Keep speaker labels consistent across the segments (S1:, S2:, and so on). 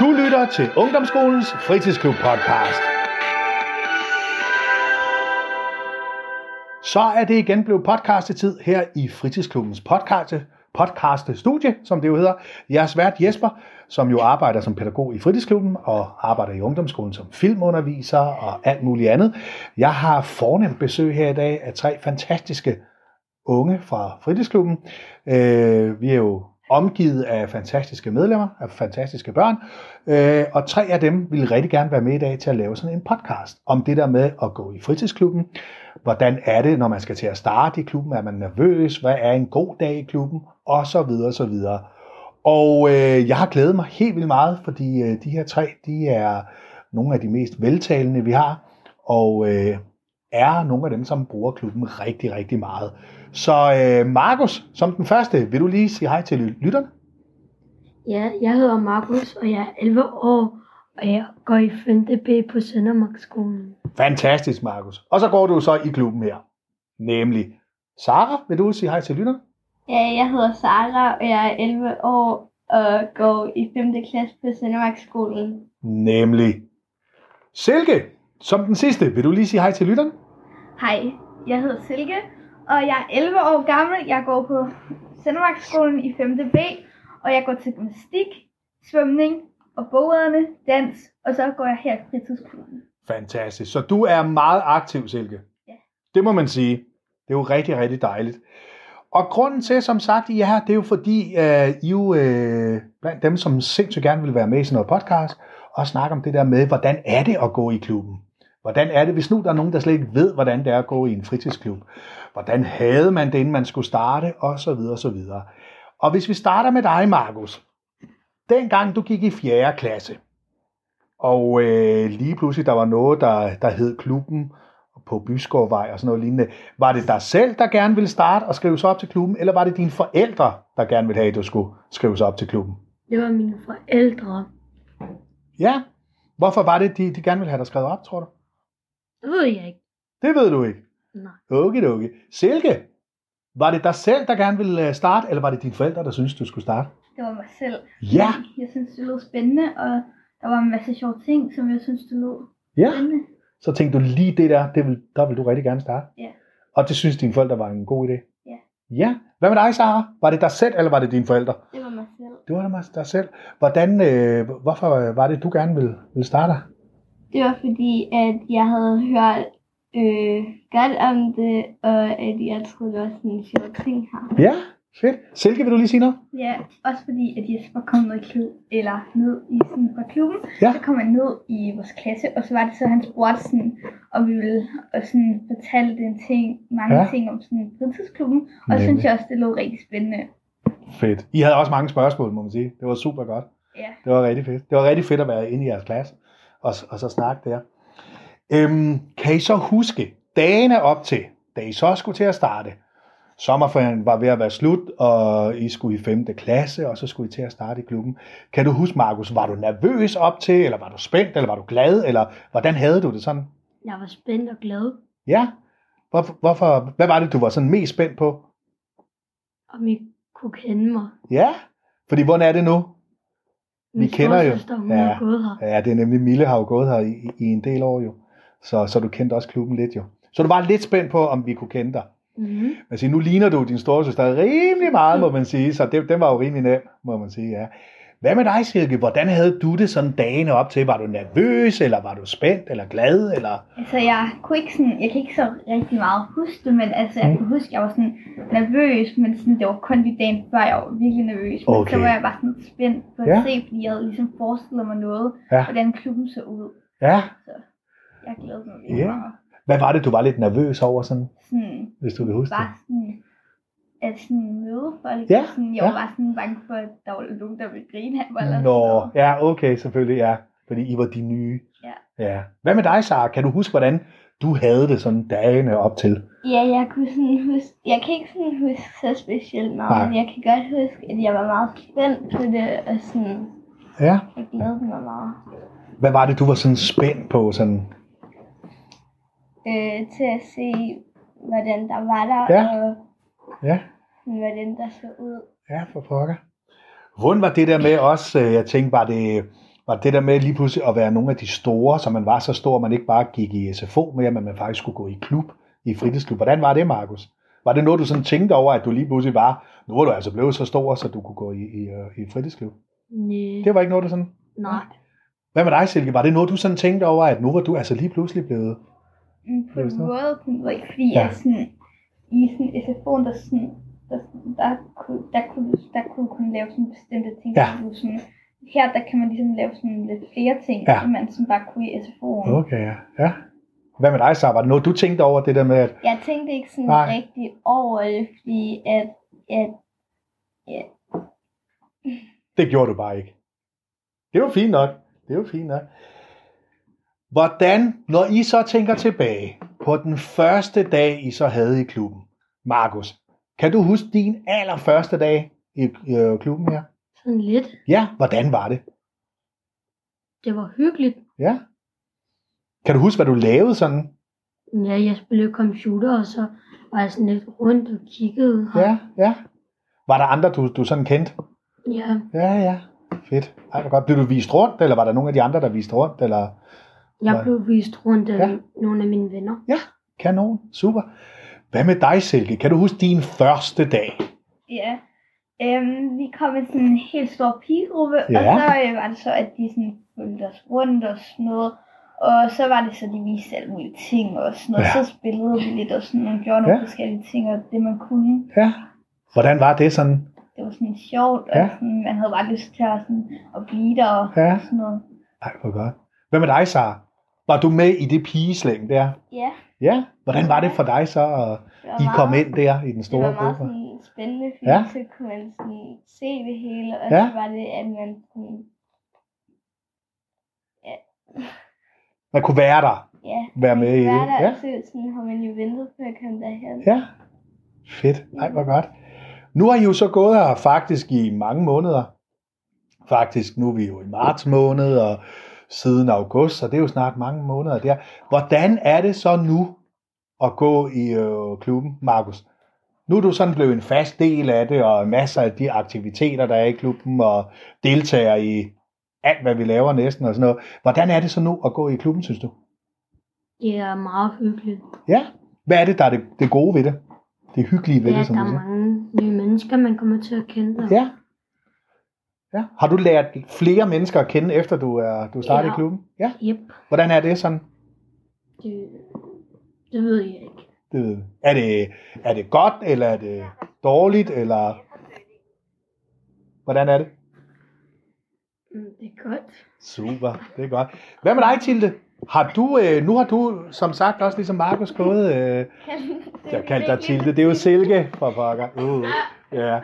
S1: Du lytter til Ungdomsskolens Fritidsklub podcast. Så er det igen blevet podcastetid her i Fritidsklubbens podcaste, podcaste studie, som det jo hedder. Jeg er svært Jesper, som jo arbejder som pædagog i fritidsklubben og arbejder i ungdomsskolen som filmunderviser og alt muligt andet. Jeg har fornemt besøg her i dag af tre fantastiske unge fra fritidsklubben. Øh, vi er jo omgivet af fantastiske medlemmer, af fantastiske børn, øh, og tre af dem ville rigtig gerne være med i dag til at lave sådan en podcast om det der med at gå i fritidsklubben. Hvordan er det, når man skal til at starte i klubben? Er man nervøs? Hvad er en god dag i klubben? Og så videre, så videre. Og øh, jeg har glædet mig helt vildt meget, fordi øh, de her tre, de er nogle af de mest veltalende, vi har, og øh, er nogle af dem, som bruger klubben rigtig, rigtig meget. Så øh, Markus, som den første, vil du lige sige hej til lytterne?
S2: Ja, jeg hedder Markus, og jeg er 11 år, og jeg går i 5. B på Søndermarksskolen.
S1: Fantastisk, Markus. Og så går du så i klubben her. Nemlig Sara, vil du sige hej til lytterne?
S3: Ja, jeg hedder Sara, og jeg er 11 år og går i 5. klasse på Søndermarksskolen.
S1: Nemlig Silke, som den sidste, vil du lige sige hej til lytterne?
S3: Hej, jeg hedder Silke, og jeg er 11 år gammel. Jeg går på Søndermarksskolen i 5. B, og jeg går til gymnastik, svømning og bogøderne, dans, og så går jeg her i fritidsklubben.
S1: Fantastisk. Så du er meget aktiv, Silke.
S3: Ja.
S1: Det må man sige. Det er jo rigtig, rigtig dejligt. Og grunden til, som sagt, I er her, det er jo fordi, øh, I er jo øh, blandt dem, som sindssygt gerne vil være med i sådan noget podcast, og snakke om det der med, hvordan er det at gå i klubben? Hvordan er det, hvis nu der er nogen, der slet ikke ved, hvordan det er at gå i en fritidsklub? Hvordan havde man det, inden man skulle starte? Og så videre, og så videre. Og hvis vi starter med dig, Markus. Dengang du gik i 4. klasse, og øh, lige pludselig, der var noget, der, der hed klubben på Byskovvej og sådan noget lignende. Var det dig selv, der gerne ville starte og skrive sig op til klubben, eller var det dine forældre, der gerne ville have, at du skulle skrive sig op til klubben?
S2: Det var mine forældre.
S1: Ja. Hvorfor var det, de, de gerne ville have dig skrevet op, tror du?
S2: Det ved jeg ikke.
S1: Det ved du ikke.
S2: Nej.
S1: Okay, okay. Silke, var det dig selv, der gerne ville øh, starte, eller var det dine forældre, der syntes, du skulle starte?
S3: Det var mig selv.
S1: Ja.
S3: Jeg synes, det lød spændende, og der var en masse sjove ting, som jeg synes, det lød
S1: Ja.
S3: spændende.
S1: Så tænkte du lige det der, det vil, der vil du rigtig gerne starte.
S3: Ja.
S1: Og det synes dine forældre var en god idé.
S3: Ja.
S1: Ja. Hvad med dig, Sara? Var det dig selv, eller var det dine forældre?
S3: Det var mig selv.
S1: Det var mig dig selv. Hvordan, øh, hvorfor øh, var det, du gerne ville, ville starte?
S3: Det var fordi, at jeg havde hørt øh, godt om det, og at jeg troede, det var sådan en sjov ting her.
S1: Ja, fedt. Silke, vil du lige sige noget?
S3: Ja, også fordi, at Jesper kom ned i klub, eller ned i sådan fra klubben.
S1: Ja.
S3: Så kom han ned i vores klasse, og så var det så, han spurgte sådan, og vi ville og sådan fortalte en ting, mange
S1: Ja.
S3: ja. ting om sådan fritidsklubben. Og så
S1: Nemlig.
S3: synes jeg også, det lød rigtig spændende.
S1: Fedt. I havde også mange spørgsmål, må man sige. Det var super godt.
S3: Ja.
S1: Det var rigtig fedt. Det var rigtig fedt at være inde i jeres klasse og, og så snakke der. Øhm, kan I så huske dagene op til, da I så skulle til at starte? Sommerferien var ved at være slut, og I skulle i 5. klasse, og så skulle I til at starte i klubben. Kan du huske, Markus, var du nervøs op til, eller var du spændt, eller var du glad, eller hvordan havde du det sådan?
S2: Jeg var spændt og glad,
S1: Ja. Hvorfor, hvorfor, hvad var det, du var sådan mest spændt på?
S2: om I kunne kende mig.
S1: Ja. Fordi hvordan er det nu?
S2: Min
S1: kender jo.
S2: storesøster, Hun
S1: Ja.
S2: ja. har gået her.
S1: Ja, det er nemlig Mille har jo gået her i, i en del år jo. Så, så du kendte også klubben lidt jo. Så du var lidt spændt på, om vi kunne kende dig.
S2: Mm-hmm.
S1: Altså, nu ligner du din storesøster rimelig meget, må man sige. Så det, den var jo rimelig nem, må man sige, ja. Hvad med dig, Silke? Hvordan havde du det sådan dagene op til? Var du nervøs, eller var du spændt, eller glad, eller...
S3: Altså, jeg kunne ikke sådan, jeg kan ikke så rigtig meget huske det, men altså, jeg
S1: Mm.
S3: kan huske, jeg var sådan nervøs, men sådan, det var kun lige dagen før, jeg var virkelig nervøs. Men
S1: Okay.
S3: så var jeg bare sådan spændt på at
S1: Ja.
S3: ja. se, fordi jeg havde ligesom forestillet mig noget,
S1: Ja.
S3: hvordan klubben så ud.
S1: Ja.
S3: Jeg glædede mig virkelig
S1: Ja.
S3: meget.
S1: Hvad var det, du var lidt nervøs over sådan,
S3: Sådan,
S1: hvis du kan huske det?
S3: bare sådan, at sådan møde folk.
S1: Ja,
S3: Sådan, jeg var
S1: ja.
S3: bare sådan bange for, at der var nogen, der ville grine af mig. eller sådan
S1: Nå,
S3: noget.
S1: ja, okay, selvfølgelig, ja. Fordi I var de nye.
S3: Ja.
S1: ja. Hvad med dig, Sara? Kan du huske, hvordan du havde det sådan dagene op til?
S3: Ja, jeg kunne sådan huske, jeg kan ikke sådan huske så specielt meget,
S1: Nej.
S3: men jeg kan godt huske, at jeg var meget spændt på det, og sådan,
S1: Ja.
S3: jeg glædede mig meget.
S1: Hvad var det, du var sådan spændt på? Sådan?
S3: øh, til at se, hvordan der var der,
S1: Ja.
S3: og
S1: Ja.
S3: hvordan der så ud.
S1: Ja, for pokker. Hvordan var det der med os? øh, Jeg tænkte, var det, Og det der med lige pludselig at være nogle af de store, så man var så stor, at man ikke bare gik i SFO mere, men man faktisk skulle gå i klub, i fritidsklub. Hvordan var det, Markus? Var det noget, du sådan tænkte over, at du lige pludselig var, nu er du altså blevet så stor, så du kunne gå i, i, øh, i fritidsklub?
S2: Næh,
S1: Det var ikke noget, du sådan...
S2: nej.
S1: Hvad med dig, Silke? Var det noget, du sådan tænkte over, at nu var du altså lige pludselig blevet...
S3: Mm, På
S1: Hvad er det
S3: en
S1: så?
S3: måde, på en måde ikke, fordi
S1: Ja.
S3: ja. jeg sådan, i sådan SFO'en, der sådan, der, sådan- der, kunne, der, kunne, der kunne kun lave sådan bestemte ting.
S1: Ja.
S3: så du Sådan, her der kan man ligesom lave sådan lidt flere ting,
S1: Ja.
S3: ja. end man sådan bare kunne i SFO'en.
S1: Okay, ja. ja. Hvad med dig, så? Var det noget, du tænkte over, det der med, at...
S3: Jeg tænkte ikke sådan
S1: Nej.
S3: Nej. rigtig over det, fordi at, at
S1: Det gjorde du bare ikke. Det var fint nok. Det var fint nok. Hvordan, når I så tænker tilbage på den første dag, I så havde i klubben, Markus, kan du huske din allerførste dag i øh, klubben her?
S2: Sådan lidt.
S1: Ja, hvordan var det?
S2: Det var hyggeligt.
S1: Ja. Kan du huske, hvad du lavede sådan?
S2: Ja, jeg spillede computer, og så var jeg sådan lidt rundt og kiggede. Og,
S1: Ja, ja. Var der andre, du, du sådan kendte?
S2: ja.
S1: Ja, ja. Fedt. Ej, hvor godt. Blev du vist rundt, eller var der nogen af de andre, der viste rundt? Eller?
S2: Jeg
S1: Nej.
S2: blev vist rundt af
S1: Ja.
S2: ja. nogle af mine venner.
S1: Kanon. Super. Hvad med dig, Silke? Kan du huske din første dag?
S3: Ja. Øhm, vi kom i sådan en helt stor pigegruppe, ja. og
S1: Ja.
S3: så øh, var det så, at de sådan fulgte os rundt og sådan noget. Og så var det så, de viste alle mulige ting og sådan noget.
S1: Ja.
S3: Ja. Så spillede vi lidt og sådan nogle, gjorde nogle
S1: Ja.
S3: ja. forskellige ting og det, man kunne.
S1: Ja. Hvordan var det sådan?
S3: Det var sådan sjovt, og
S1: Ja.
S3: sådan, man havde bare lyst til at, sådan, at blive der og
S1: Ja.
S3: sådan noget.
S1: Ej, hvor godt. Hvad med dig, Sara? Var du med i det pigeslæng der?
S3: Ja,
S1: Ja. Hvordan var det for dig så, at
S3: det var
S1: I
S3: meget,
S1: kom ind der i den
S3: det
S1: store
S3: var meget
S1: gruppe?
S3: sådan, spændende, fordi
S1: Ja.
S3: ja. så kunne man sådan, se det hele, og
S1: Ja.
S3: ja. så var det, at man sådan,
S1: Man kunne være der.
S3: ja,
S1: Være med i det.
S3: Hver dag,
S1: Ja.
S3: ja. så sådan, har man jo ventet på at komme derhen.
S1: Ja. Fedt. Ej, hvor godt. Nu har I jo så gået her faktisk i mange måneder. Faktisk, nu er vi jo i marts måned, og siden august, så det er jo snart mange måneder der. Hvordan er det så nu at gå i øh, klubben, Markus? Nu er du sådan blevet en fast del af det, og masser af de aktiviteter, der er i klubben, og deltager i alt, hvad vi laver næsten og sådan noget. Hvordan er det så nu at gå i klubben, synes du?
S2: Det er meget hyggeligt.
S1: Ja. Hvad er det, der er det, det gode ved det? Det hyggelige ved
S2: ja,
S1: det, som
S2: der
S1: du
S2: er
S1: siger?
S2: mange nye mennesker, man kommer til at kende. og-
S1: Ja. ja. Har du lært flere mennesker at kende, efter du er du startede ja. i
S2: Ja.
S1: klubben? Ja.
S2: Yep.
S1: Hvordan er det sådan?
S2: Det, det ved jeg ikke.
S1: Det, ved jeg. Øh, er, det, er det godt, eller er det dårligt, eller... Hvordan er det?
S2: Mm, Det er godt.
S1: Super, det er godt. Hvad med dig, Tilde? Har du, øh, nu har du som sagt også ligesom Markus gået... Øh, jeg kaldte dig Tilde, det er jo Silke for pokker. Uh, ja.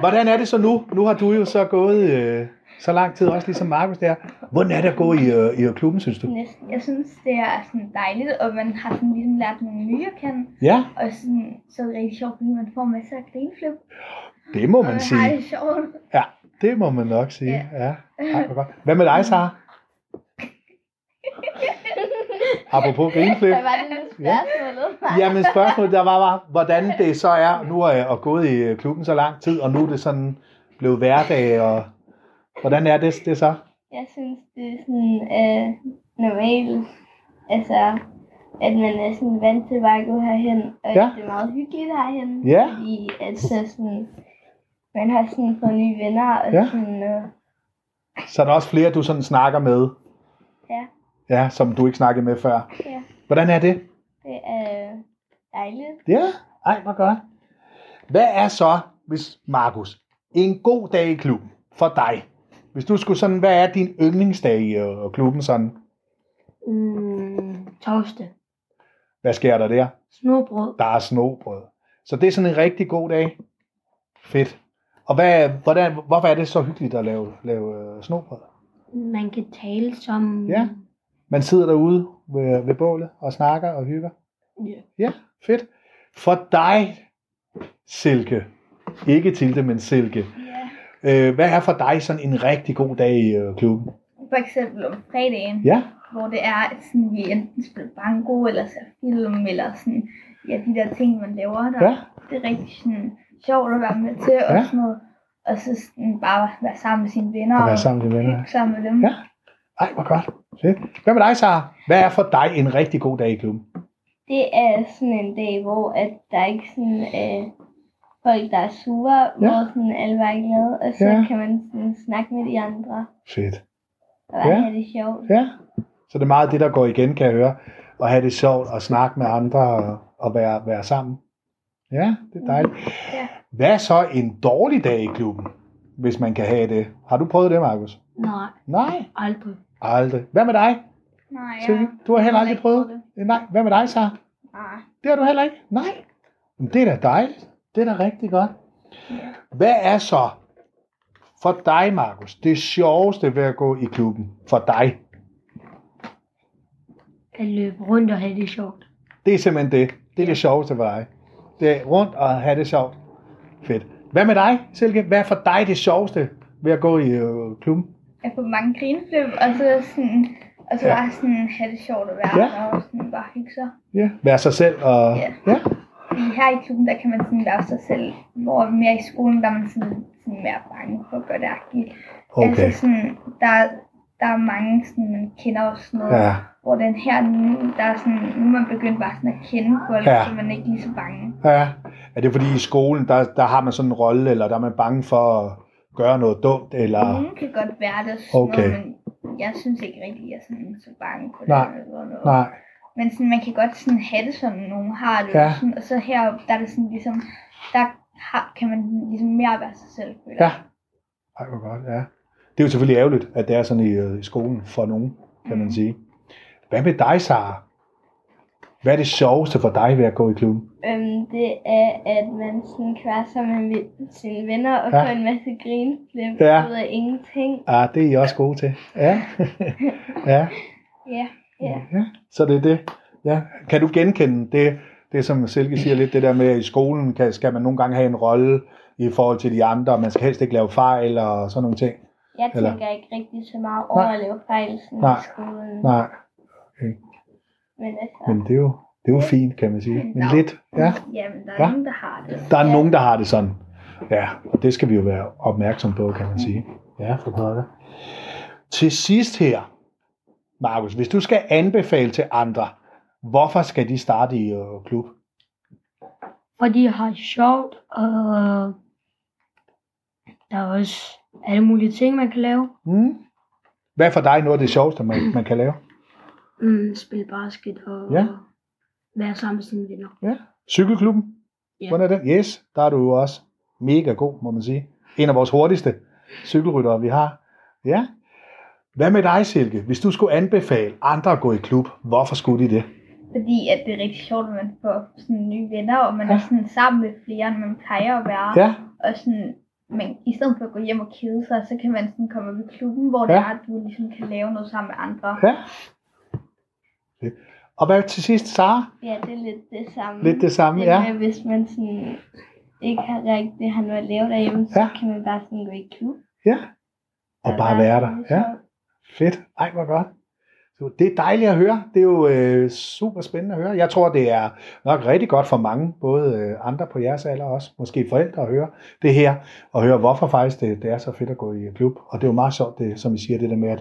S1: Hvordan er det så nu? Nu har du jo så gået øh, så lang tid, også ligesom Markus der. Hvordan er det at gå i, øh, i klubben, synes du?
S3: Næsten. Jeg synes, det er sådan dejligt, og man har sådan ligesom lært nogle nye at kende.
S1: Ja,
S3: Og sådan, så er det rigtig sjovt, fordi man får masser af grinflip.
S1: det må
S3: Og
S1: man
S3: man har
S1: sige.
S3: det sjovt.
S1: Ja, det må man nok sige. Ja. Ej, hvor godt. Hvad med dig, Sara? Apropos grinflip.
S3: Hvad var det nu spørgsmålet?
S1: Jamen spørgsmålet der var, var, hvordan det så er, nu er jeg og gået i øh, klubben så lang tid, og nu er det sådan blevet hverdag, og hvordan er det, det så?
S3: Jeg synes, det er sådan øh, normalt. Altså, at man er sådan vant til bare at gå herhen. Og
S1: Ja.
S3: ja. det er meget hyggeligt herhen.
S1: Ja.
S3: Fordi at så sådan, man har sådan fået nye venner. Og
S1: Ja.
S3: ja. sådan, øh,
S1: Så er der også flere, du sådan snakker med,
S3: ja,
S1: ja, som du ikke snakkede med før.
S3: Ja.
S1: Hvordan er det?
S3: det er dejligt.
S1: Ja, ej, hvor godt. Hvad er så, hvis Markus, en god dag i klubben for dig? Hvis du skulle sådan, hvad er din yndlingsdag i øh, klubben sådan?
S2: Mm, torsdag.
S1: Hvad sker der der?
S2: Snobrød.
S1: Der er snobrød. Så det er sådan en rigtig god dag. Fedt. Og hvad, hvordan, hvorfor er det så hyggeligt at lave, lave øh, snobrød?
S2: Man kan tale som...
S1: Ja. Man sidder derude ved, ved bålet og snakker og hygger.
S2: Ja.
S1: Ja, fedt. For dig, Silke. Ikke Tilde, men Silke.
S3: Ja.
S1: Øh, hvad er for dig sådan en rigtig god dag i øh, klubben?
S3: For eksempel om fredagen,
S1: Ja,
S3: hvor det er, at sådan, vi enten spiller banko, eller ser film, eller sådan, ja, de der ting, man laver der.
S1: ja,
S3: Det er rigtig sådan, sjovt at være med til, og
S1: Ja.
S3: sådan noget. Og så sådan, bare være sammen med sine venner,
S1: at være sammen med venner.
S3: hygge sammen med dem.
S1: Ja. Ej, hvor godt. Fedt. Hvad med dig, Sara? Hvad er for dig en rigtig god dag i klubben?
S4: Det er sådan en dag, hvor at der ikke sådan øh, folk, der er sure, ja. hvor sådan alle bare er glade, og så
S1: Ja.
S4: ja. kan man sådan snakke med de andre
S1: Fedt.
S4: og bare
S1: Ja.
S4: ja. have det sjovt.
S1: Ja. Så det er meget det, der går igen, kan jeg høre. At have det sjovt og snakke med andre og, og være, være sammen. Ja, det er dejligt.
S3: Ja.
S1: Hvad er så en dårlig dag i klubben, hvis man kan have det? Har du prøvet det, Markus?
S2: Nej,
S1: Nej,
S2: aldrig.
S1: aldrig. Hvad med dig?
S3: Nej,
S1: Silke? Du har heller aldrig prøvet det? Nej. Hvad med dig, Sara?
S3: Nej.
S1: Det har du heller ikke? Nej. Men det er da dejligt. Det er da rigtig godt. Hvad er så for dig, Markus, det sjoveste ved at gå i klubben? For dig.
S2: At løbe rundt og have det sjovt.
S1: Det er simpelthen det. Det er det sjoveste for dig. Det er rundt og have det sjovt. Fedt. Hvad med dig, Silke? Hvad er for dig det sjoveste ved at gå i øh, klubben?
S3: Jeg får mange grineflip, og så sådan... Og så
S1: Ja.
S3: ja. bare sådan have det sjovt at være
S1: Ja.
S3: der, og sådan bare hygge sig.
S1: Ja. Være sig selv og...
S3: Ja.
S1: ja.
S3: Fordi her i klubben, der kan man sådan være sig selv, hvor mere i skolen, der er man sådan, sådan mere bange for at gøre det agtigt.
S1: Okay.
S3: Altså sådan, der, der er mange, sådan, man kender og sådan noget.
S1: Ja.
S3: Hvor den her, nu, der er sådan, nu er man begyndt bare sådan at kende folk,
S1: Ja.
S3: ja. så man er ikke lige så bange.
S1: Ja. Er det fordi i skolen, der, der har man sådan en rolle, eller der er man bange for at gøre noget dumt, eller...
S3: Nogen kan godt være det, og sådan
S1: Okay.
S3: noget, men jeg synes ikke rigtig, at jeg er sådan så bange på det.
S1: Nej.
S3: Eller noget.
S1: Nej.
S3: Men sådan, man kan godt sådan have det, som nogen har det.
S1: Ja.
S3: Sådan, og så heroppe, der er det sådan ligesom, der har, kan man ligesom mere være sig selv. føler
S1: Ja.
S3: jeg.
S1: Ej, hvor godt, ja. Det er jo selvfølgelig ærgerligt, at det er sådan i, øh, i skolen for nogen, kan mm. man
S3: Mm.
S1: sige. Hvad med dig, Sara? Hvad er det sjoveste for dig ved at gå i klubben?
S4: Øhm, det er, at man sådan kan være sammen med vi- sine venner og
S1: Ja.
S4: ja. få en masse grinflip
S1: Ja.
S4: ud af ingenting.
S1: Ah, det er I også gode til. Ja. ja.
S4: Ja. Ja.
S1: ja. Så det er det. Ja. Kan du genkende det, det, som Silke siger lidt, det der med, at i skolen kan, skal man nogle gange have en rolle i forhold til de andre, og man skal helst ikke lave fejl og sådan nogle ting?
S4: Jeg
S1: Eller-
S4: tænker ikke rigtig så meget over
S1: Nej.
S4: at lave fejl sådan
S1: Nej.
S4: i skolen.
S1: Nej,
S4: Men altså,
S1: men det er jo, det er jo fint, kan man sige. Men lidt, ja.
S3: Ja, men der er
S1: Ja.
S3: ja. nogen, der har det.
S1: Der er ja. nogen, der har det sådan. Ja, og det skal vi jo være opmærksom på, kan man sige. Ja, for pokker. Til sidst her, Markus, hvis du skal anbefale til andre, hvorfor skal de starte i øh, klub?
S2: Og de har det sjovt, og øh, der er også alle mulige ting, man kan lave.
S1: Hmm? Hvad er for dig noget af det sjoveste, man, man kan lave?
S2: Mm, spille basket og
S1: Ja.
S2: være sammen med sine venner.
S1: Cykelklubben?
S2: Ja.
S1: Hvordan er den? Yes, der er du jo også mega god, må man sige. En af vores hurtigste cykelryttere, vi har. Ja. Hvad med dig, Silke? Hvis du skulle anbefale andre at gå i klub, hvorfor skulle de det?
S3: Fordi at det er rigtig sjovt, at man får sådan nye venner, og man
S1: Ja.
S3: ja. er sådan sammen med flere, end man plejer at være.
S1: Ja,
S3: Og sådan, men i stedet for at gå hjem og kede sig, så kan man sådan komme op i klubben, hvor ja. det
S1: Ja.
S3: er, at du ligesom kan lave noget sammen med andre.
S1: Ja. Fedt. Og hvad til sidst, Sara?
S4: ja, det er lidt det samme.
S1: Lidt det samme,
S4: det
S1: ja.
S4: med, hvis man sådan ikke har rigtig har noget at lave derhjemme, så
S1: Ja.
S4: kan man bare sådan gå i klub.
S1: Ja. Og bare være der.
S4: sådan
S1: Ja,
S4: sjovt.
S1: fedt. Ej, hvor godt. Så Det er dejligt at høre. Det er jo øh, super spændende at høre. Jeg tror, det er nok rigtig godt for mange, både øh, andre på jeres alder og også måske forældre at høre det her, og høre, hvorfor faktisk det, det er så fedt at gå i klub. Og det er jo meget sjovt, det, som I siger, det der med, at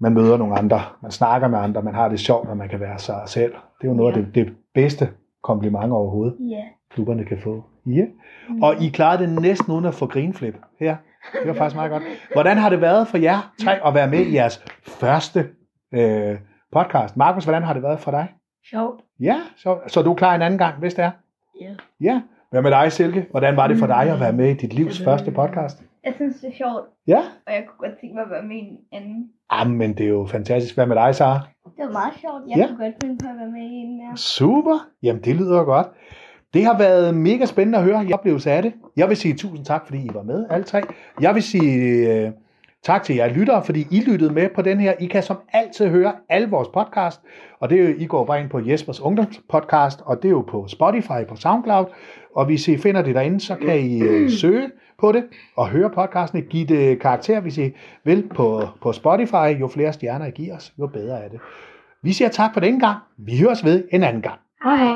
S1: man møder nogle andre, man snakker med andre, man har det sjovt, og man kan være sig selv. Det er jo noget af det, det bedste kompliment overhovedet.
S4: Ja.
S1: klubberne kan få. Ja. Og I klarede det næsten uden at få grinflip her. Det var faktisk meget godt. Hvordan har det været for jer tre at være med i jeres første øh, podcast? Markus, hvordan har det været for dig?
S2: Sjovt.
S1: Ja, så, så du er klar en anden gang, hvis det er.
S2: Ja.
S1: Ja. Hvad med dig, Silke? Hvordan var det for dig at være med i dit livs første podcast?
S3: Jeg synes, det er sjovt,
S1: Ja.
S3: og jeg kunne godt tænke mig at være med i en anden.
S1: Jamen, det er jo fantastisk. Hvad med dig, Sara?
S4: Det var meget sjovt. Jeg
S1: Ja.
S4: ja. kunne godt finde på at være med i en mere.
S1: Super. Jamen, det lyder godt. Det har været mega spændende at høre jeg oplevelse af det. Jeg vil sige tusind tak, fordi I var med, alle tre. Jeg vil sige øh, tak til jer lyttere, fordi I lyttede med på den her. I kan som altid høre alle vores podcast, og det er jo, I går bare ind på Jespers Ungdomspodcast, og det er jo på Spotify, på Soundcloud, og hvis I finder det derinde, så kan I øh, søge på det og høre podcastene. Giv det karakter, hvis I vil, på, på Spotify. Jo flere stjerner I giver os, jo bedre er det. Vi siger tak for den gang. Vi høres ved en anden gang.
S2: Hej.